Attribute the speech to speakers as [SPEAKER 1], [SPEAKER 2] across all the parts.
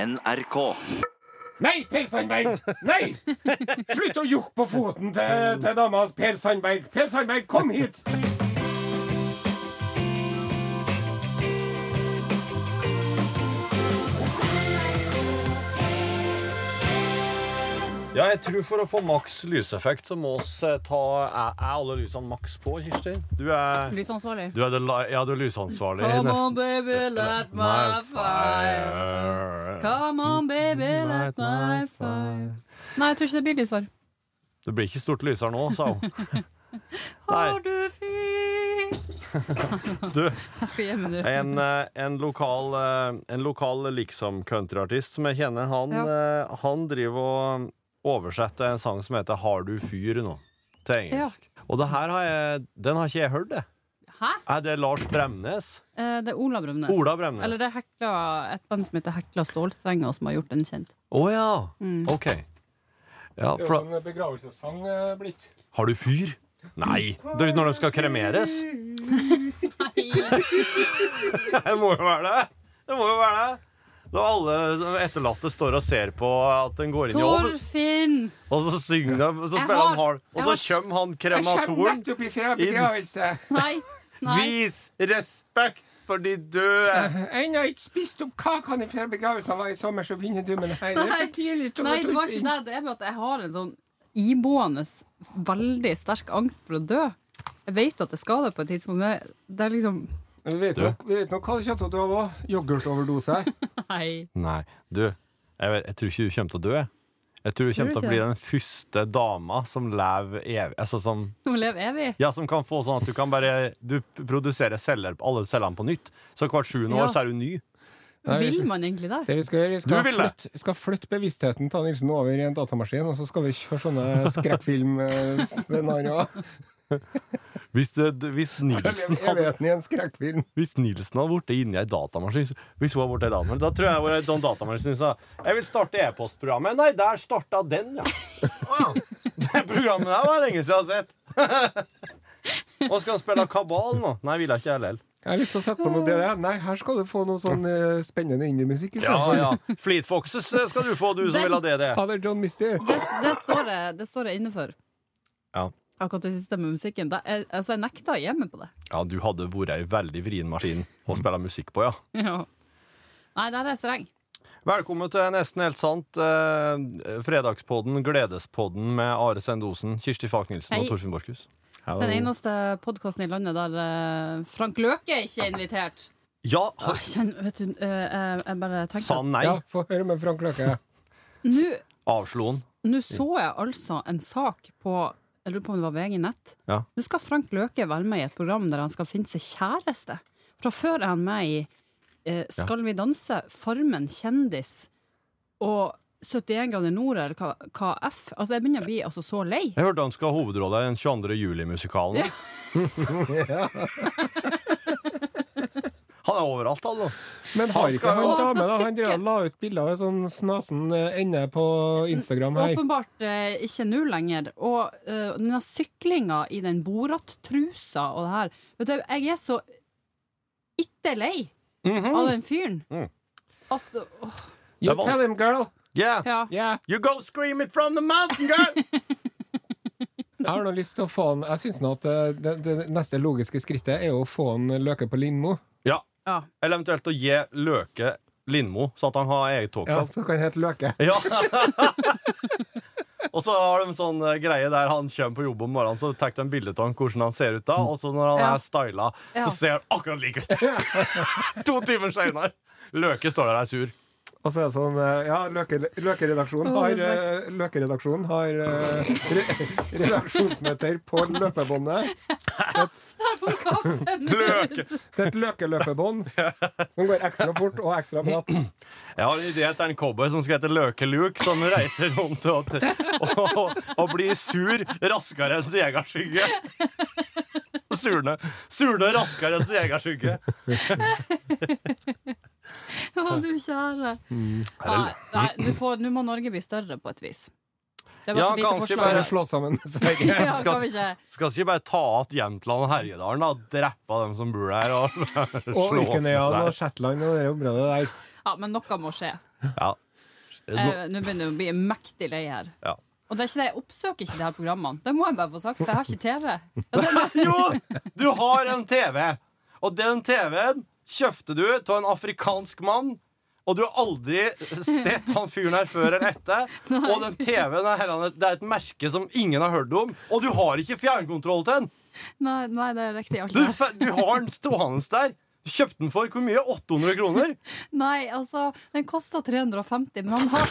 [SPEAKER 1] NRK.
[SPEAKER 2] Nei, Per Sandberg! Nei! Slutt å jukke på foten til, til dama hans, Per Sandberg. Per Sandberg, kom hit!
[SPEAKER 3] Ja, jeg tror for å få maks lyseffekt, så må oss eh, ta Er er alle lysene maks på, Kirsti? Du er,
[SPEAKER 4] Lysansvarlig.
[SPEAKER 3] du er, det, la- ja, du er lysansvarlig.
[SPEAKER 4] Come
[SPEAKER 3] Nesten-
[SPEAKER 4] on, baby, let my fire. Come on, baby, let my fire. Nei, jeg tror ikke det blir lysår.
[SPEAKER 3] Det blir ikke stort lysere nå, sa hun. Nei,
[SPEAKER 4] Har du fyr
[SPEAKER 3] du,
[SPEAKER 4] Jeg skal hjem nå.
[SPEAKER 3] en, eh, en lokal, eh, en lokal liksom countryartist som jeg kjenner, han, eh, han driver og oversetter en sang som heter Har du fyr nå? til engelsk. Og det her har jeg, den har ikke jeg hørt, det.
[SPEAKER 4] Hæ?
[SPEAKER 3] Er det Lars Bremnes?
[SPEAKER 4] Eh, Det er Ola Bremnes.
[SPEAKER 3] Ola Bremnes.
[SPEAKER 4] Eller det er Hekla, et band som heter Hekla Stålstrenger, som har gjort den kjent.
[SPEAKER 3] Å ja.
[SPEAKER 4] Mm.
[SPEAKER 3] OK. Ja,
[SPEAKER 2] Det er jo
[SPEAKER 3] for, da-
[SPEAKER 2] sånn begravelsessang eh, blitt.
[SPEAKER 3] Har du fyr? Nei. Det er når de skal kremeres. Det må jo være det. Det må jo være det. Da alle etterlatte står og ser på at den går inn i ovnen,
[SPEAKER 4] Torfinn!
[SPEAKER 3] og så synger de, og så
[SPEAKER 4] Jeg
[SPEAKER 3] spiller
[SPEAKER 4] har-
[SPEAKER 3] de hard, og så
[SPEAKER 4] jeg har-
[SPEAKER 3] kommer han
[SPEAKER 2] Jeg kommer
[SPEAKER 3] krematoren.
[SPEAKER 2] nettopp ifra begravelse.
[SPEAKER 4] Nei. Nei.
[SPEAKER 3] Vis respekt for de døde.
[SPEAKER 2] Ennå ikke spist opp kakene fra begravelsen var i sommer, så begynner du med det her. Det er
[SPEAKER 4] Nei.
[SPEAKER 2] for tidlig. å gå ut
[SPEAKER 4] Nei, det var ikke
[SPEAKER 2] inn.
[SPEAKER 4] det. Det er bare at jeg har en sånn iboende, veldig sterk angst for å dø. Jeg vet at jeg skal det på et tidspunkt, men det er liksom
[SPEAKER 2] Vi vet nok, vi vet nok hva det kommer til å dø av òg. Yoghurtoverdose.
[SPEAKER 4] Nei.
[SPEAKER 3] Nei, du. Jeg, vet, jeg tror ikke du kommer til å dø. jeg. Jeg tror du
[SPEAKER 4] Tror
[SPEAKER 3] kommer
[SPEAKER 4] du
[SPEAKER 3] til å
[SPEAKER 4] ikke
[SPEAKER 3] bli
[SPEAKER 4] det?
[SPEAKER 3] den første dama som lever evig Altså som
[SPEAKER 4] Som lever evig.
[SPEAKER 3] Ja, som kan få sånn at du kan bare Du produserer celler, alle cellene på nytt. Så hvert sjuende
[SPEAKER 4] Ja.
[SPEAKER 3] år så er du ny.
[SPEAKER 2] Nei,
[SPEAKER 4] Vil
[SPEAKER 2] vi-
[SPEAKER 4] man egentlig der?
[SPEAKER 2] Det vi skal gjøre, vi skal,
[SPEAKER 3] Du vil det.
[SPEAKER 2] flytte, vi skal flytte bevisstheten til Nilsen over i en datamaskin, og så skal vi kjøre sånne skrekkfilmscenarioer.
[SPEAKER 3] Hvis, det, det- hvis, Nielsen
[SPEAKER 2] Jeg
[SPEAKER 3] hadde,
[SPEAKER 2] vet den i en skrekkfilm.
[SPEAKER 3] hvis Nielsen hadde vært inni ei datamaskin så- Hvis hun hadde vært ei datamaskin Da tror jeg hun var ei sånn datamaskin som sa Jeg vil starte e-postprogrammet. Nei, der starta den, ja. Å, ja. Det programmet der var lenge siden jeg har sett. Og skal han spille kabal nå? Nei, vil jeg ikke heller.
[SPEAKER 2] Jeg har lyst til å sette på noe DDE. Nei, her skal du få noe sånn eh, spennende indiemusikk
[SPEAKER 3] Ja,
[SPEAKER 2] istedenfor.
[SPEAKER 3] ja. Fleet Foxes eh, skal du få, du som vil ha det. det.
[SPEAKER 2] Father John Misty.
[SPEAKER 4] Det, det står jeg, det står jeg inne for.
[SPEAKER 3] Ja.
[SPEAKER 4] Akkurat det siste med musikken. Da, jeg, altså, jeg nekta å gi meg på det.
[SPEAKER 3] ja, du hadde vært ei veldig vrien maskin å spille musikk på, ja.
[SPEAKER 4] Nei, der er jeg streng.
[SPEAKER 3] Velkommen til Nesten helt sant. Eh, fredagspodden, Gledespodden med Are Sendosen, Kirsti Falk-Nielsen
[SPEAKER 4] Hei.
[SPEAKER 3] og Torfinn Borchhus.
[SPEAKER 4] Den eneste podkasten i landet der eh, Frank Løke ikke er invitert.
[SPEAKER 3] Ja,
[SPEAKER 4] Åh, kjenn, vet du, eh, jeg, jeg bare tenkte
[SPEAKER 3] sa
[SPEAKER 4] at
[SPEAKER 3] nei.
[SPEAKER 2] Ja, få høre med Frank Løke.
[SPEAKER 4] Nå-
[SPEAKER 3] Avslo han.
[SPEAKER 4] Nå så jeg altså en sak på Jeg lurer på om det var VG Nett.
[SPEAKER 3] Ja.
[SPEAKER 4] Nå skal Frank Løke være med i et program der han skal finne seg kjæreste. Fra før er han med i eh, Skal vi danse, Farmen kjendis og 71 grader nord, eller hva, hva F? Altså, jeg begynner å bli altså, så lei.
[SPEAKER 3] Jeg hørte han skal ha hovedrolla i den 22. juli-musikalen. han er overalt, han nå.
[SPEAKER 2] Men har
[SPEAKER 3] Han
[SPEAKER 2] ikke
[SPEAKER 3] skal-
[SPEAKER 2] han
[SPEAKER 4] Å, han
[SPEAKER 2] dame,
[SPEAKER 4] skal
[SPEAKER 2] da? Han
[SPEAKER 4] sikre-
[SPEAKER 2] drev og la ut bilder av en sånn snasen eh, ende på Instagram her.
[SPEAKER 4] Åpenbart eh, ikke nå lenger. Og eh, denne syklinga i den Borat-trusa og det her Vet du, jeg er så itte lei av den fyren. At åh,
[SPEAKER 2] You
[SPEAKER 3] Det var-
[SPEAKER 2] tell him, girl!
[SPEAKER 3] Yeah.
[SPEAKER 4] ja.
[SPEAKER 2] Yeah.
[SPEAKER 3] You go scream it from the mountain, girl!
[SPEAKER 2] Jeg har nå lyst til å få han Jeg syns nå at eh, det, det neste logiske skrittet er å få han Løke på Lindmo.
[SPEAKER 3] ja.
[SPEAKER 4] ja.
[SPEAKER 3] Eller eventuelt å gi Løke Lindmo, så at han har eget
[SPEAKER 2] Ja,
[SPEAKER 3] talkshow.
[SPEAKER 2] så kan han hete Løke.
[SPEAKER 3] Ja. og så har de sånn eh, greie der han kommer på jobb om morgenen, så tar de bilde av han, hvordan han ser ut da, og så når han
[SPEAKER 4] Ja.
[SPEAKER 3] er styla,
[SPEAKER 4] Ja.
[SPEAKER 3] så ser han akkurat lik ut. to timer seinere. Løke står der og er sur.
[SPEAKER 2] Og så er det sånn eh, Ja, Løke- Løke-redaksjonen har, eh, Løke-redaksjonen har eh, re redaksjonsmøter på løpebåndet.
[SPEAKER 4] Der får kaffen
[SPEAKER 3] Løke.
[SPEAKER 4] ut!
[SPEAKER 2] Det er et løkeløpebånd som går ekstra fort og ekstra bratt.
[SPEAKER 3] Jeg har en idé til en cowboy som skal hete Løke Luke, som reiser rundt og, og, og blir sur raskere enn jegerskygge. Surne. Surne raskere enn jegerskygge.
[SPEAKER 4] Å, du kjære. Nei, nei, nå får- nå må Norge bli større på et vis. Det var
[SPEAKER 3] Ja,
[SPEAKER 4] et lite
[SPEAKER 3] kanskje
[SPEAKER 4] forslag.
[SPEAKER 2] Bare slå sammen med Sverige.
[SPEAKER 4] Ja,
[SPEAKER 3] skal-
[SPEAKER 4] kan vi ikke
[SPEAKER 3] Skal ikke bare ta igjen Jämtland og Herjedalen, da? Drepe dem som bor der, og
[SPEAKER 2] Og
[SPEAKER 3] slå oss ned
[SPEAKER 2] Ulkenøya
[SPEAKER 3] der.
[SPEAKER 2] og Shetland og det området der.
[SPEAKER 4] Ja, men noe må skje.
[SPEAKER 3] Ja. Nå,
[SPEAKER 4] Eh, Nå begynner jeg å bli mektig lei her.
[SPEAKER 3] ja.
[SPEAKER 4] Og det er ikke det, jeg oppsøker ikke de her programmene. Det må jeg bare få sagt, for jeg har ikke TV. Ja, det,
[SPEAKER 3] Jo, du har en TV, og den TV-en kjøpte du av en afrikansk mann. Og du har aldri sett han fyren her før eller etter. Og den TV-en er, heller- det er et merke som ingen har hørt om. Og du har ikke fjernkontroll til den!
[SPEAKER 4] nei, nei, det er riktig. altså. Alt
[SPEAKER 3] Du,
[SPEAKER 4] det her.
[SPEAKER 3] fe- du har den stående der. Du kjøpte den for hvor mye? 800 kroner?
[SPEAKER 4] Nei, altså, den kosta 350, men han, har,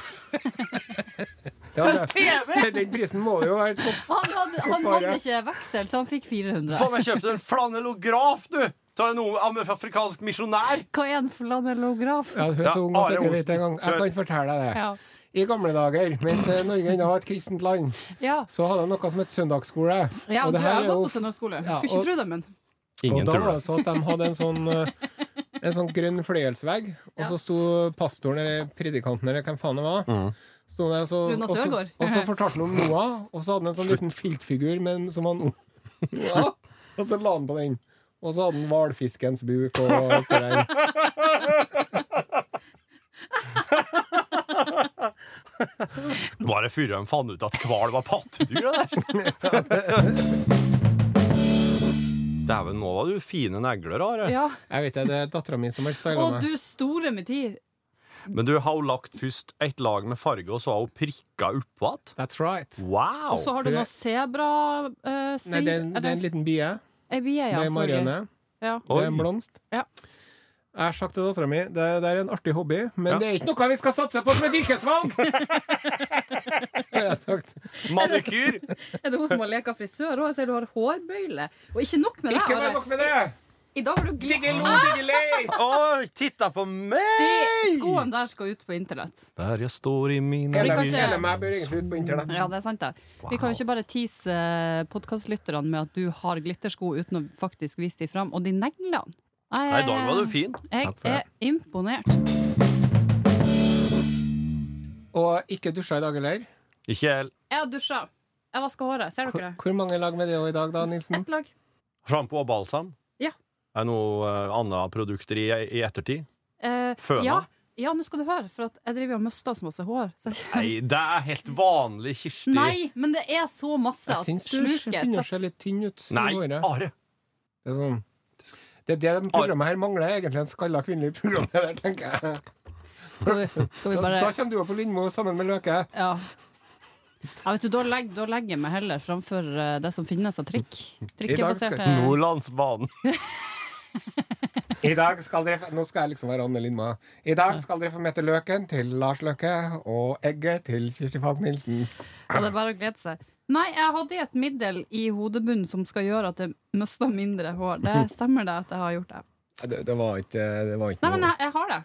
[SPEAKER 2] Ja, det, til den prisen må det jo være topp.
[SPEAKER 4] han, hadde, han hadde ikke veksel, så han fikk 400.
[SPEAKER 3] Faen, jeg kjøpte en flanellograf, du! Av en o- am- afrikansk misjonær.
[SPEAKER 4] Hva er en flanellograf?
[SPEAKER 2] Ja, hun er
[SPEAKER 3] Ja,
[SPEAKER 2] så ung og
[SPEAKER 3] Are
[SPEAKER 2] tenker litt
[SPEAKER 3] Osen.
[SPEAKER 2] en gang. Jeg kan fortelle deg det.
[SPEAKER 4] Ja.
[SPEAKER 2] I gamle dager, mens eh, Norge ennå var et kristent land,
[SPEAKER 4] Ja.
[SPEAKER 2] så hadde de noe som het søndagsskole.
[SPEAKER 4] Ja,
[SPEAKER 2] Og
[SPEAKER 4] du
[SPEAKER 2] det her
[SPEAKER 4] har
[SPEAKER 2] er jo
[SPEAKER 4] gått på søndagsskole.
[SPEAKER 2] Ja,
[SPEAKER 4] Skulle ikke
[SPEAKER 2] og-
[SPEAKER 4] tro det, men
[SPEAKER 2] og da var det så at de hadde en sånn eh, En sånn grønn fløyelsvegg, og så sto pastoren eller predikanten eller hvem faen det var sto der, og, så,
[SPEAKER 4] Jonas
[SPEAKER 2] og, så,
[SPEAKER 4] Øgaard.
[SPEAKER 2] og så fortalte han om Noah, og så hadde han en sånn liten filtfigur med en- som han Noah, Og så la han på den. Og så hadde han hvalfiskens buk og alt det der.
[SPEAKER 3] Bare fyrer de fant ut at hval var pattedyr, det der. Dæven, nå var du fine negler, Are.
[SPEAKER 4] ja.
[SPEAKER 2] Jeg vet det, det er dattera mi som har styla
[SPEAKER 4] Og
[SPEAKER 2] meg.
[SPEAKER 4] du store med tid.
[SPEAKER 3] Men du har jo lagt først et lag med farge, og så har hun prikka oppå igjen.
[SPEAKER 2] That's right.
[SPEAKER 3] Wow!
[SPEAKER 4] Og så har du noe eh, sebra-stil.
[SPEAKER 2] Nei, det er, det er en liten bie.
[SPEAKER 4] Ei bie, ja.
[SPEAKER 2] Det er Marianne.
[SPEAKER 4] selvfølgelig. altså- Ja.
[SPEAKER 2] Det
[SPEAKER 3] Oi.
[SPEAKER 2] er en blomst.
[SPEAKER 4] Ja.
[SPEAKER 2] Jeg har sagt til dattera mi det, det er en artig hobby, men
[SPEAKER 3] Ja.
[SPEAKER 2] det er ikke noe vi skal satse på som et yrkesvalg! Det har jeg sagt.
[SPEAKER 3] Manikyr!
[SPEAKER 4] Er det hun som har leka frisør òg? Jeg ser du har hårbøyle. Og ikke nok med det.
[SPEAKER 2] Ikke vær
[SPEAKER 4] Are.
[SPEAKER 2] nok med det!
[SPEAKER 4] I dag har du glimt.
[SPEAKER 2] Diggelo, diggelei!
[SPEAKER 3] Oi, titta på
[SPEAKER 4] De
[SPEAKER 3] meg!
[SPEAKER 4] skoene der skal ut på internett.
[SPEAKER 3] Der jeg står i mine
[SPEAKER 4] Vi
[SPEAKER 2] Hele,
[SPEAKER 4] kan ikke-
[SPEAKER 2] hele meg bør egentlig ut på internett.
[SPEAKER 4] Ja, det er sant, det. Vi kan jo ikke bare tease podkastlytterne med at du har glittersko uten å faktisk vise de fram. Og de neglene. Jeg-
[SPEAKER 3] Nei, i dag var du fin.
[SPEAKER 4] Jeg
[SPEAKER 3] Takk for
[SPEAKER 4] er
[SPEAKER 3] det.
[SPEAKER 4] imponert.
[SPEAKER 2] Og ikke dusja i dag heller.
[SPEAKER 3] Ikke helt.
[SPEAKER 4] Jeg har dusja. Jeg vaska håret. Ser
[SPEAKER 2] Hvor,
[SPEAKER 4] dere det?
[SPEAKER 2] hvor mange lag med det i dag, da, Nilsen?
[SPEAKER 4] Ett lag.
[SPEAKER 3] Sjampo og balsam?
[SPEAKER 4] Ja.
[SPEAKER 3] Er det noe uh, annet produkter i, i ettertid?
[SPEAKER 4] Eh,
[SPEAKER 3] Føna?
[SPEAKER 4] Ja, ja nå skal du høre, for at jeg driver og mister så masse hår. Så jeg
[SPEAKER 3] Nei,
[SPEAKER 4] kjenner-
[SPEAKER 3] det er helt vanlig, Kirsti.
[SPEAKER 4] Nei, men det er så masse
[SPEAKER 2] Jeg
[SPEAKER 4] at
[SPEAKER 2] syns du begynner å
[SPEAKER 4] sluket
[SPEAKER 2] se litt tynn ut. i
[SPEAKER 3] Nei,
[SPEAKER 2] håret.
[SPEAKER 3] Are!
[SPEAKER 2] Det er sånn det er det de programmet her mangler, egentlig en skalla kvinnelig programleder, tenker jeg.
[SPEAKER 4] Skal vi, skal vi
[SPEAKER 2] Da,
[SPEAKER 4] bare
[SPEAKER 2] da kommer du opp på Lindmo sammen med Løke.
[SPEAKER 4] Ja. ja vet du, da, legg, da legger jeg meg heller framfor eh, det som finnes av trikk.
[SPEAKER 2] skal-
[SPEAKER 4] Trikkebaserte
[SPEAKER 3] Nordlandsbanen.
[SPEAKER 2] I dag skal dere, få- nå skal jeg liksom være Anne Lindma. I dag skal dere få møte løken til Lars Løkke og egget til Kirsti Falk Nilsen.
[SPEAKER 4] ja, Det er bare å glede seg. Nei, jeg hadde et middel i hodebunnen som skal gjøre at jeg mister mindre hår. Det stemmer det at jeg har gjort det.
[SPEAKER 2] Det, det var ikke, det var ikke
[SPEAKER 4] Nei, men
[SPEAKER 2] noe
[SPEAKER 4] jeg, jeg har det.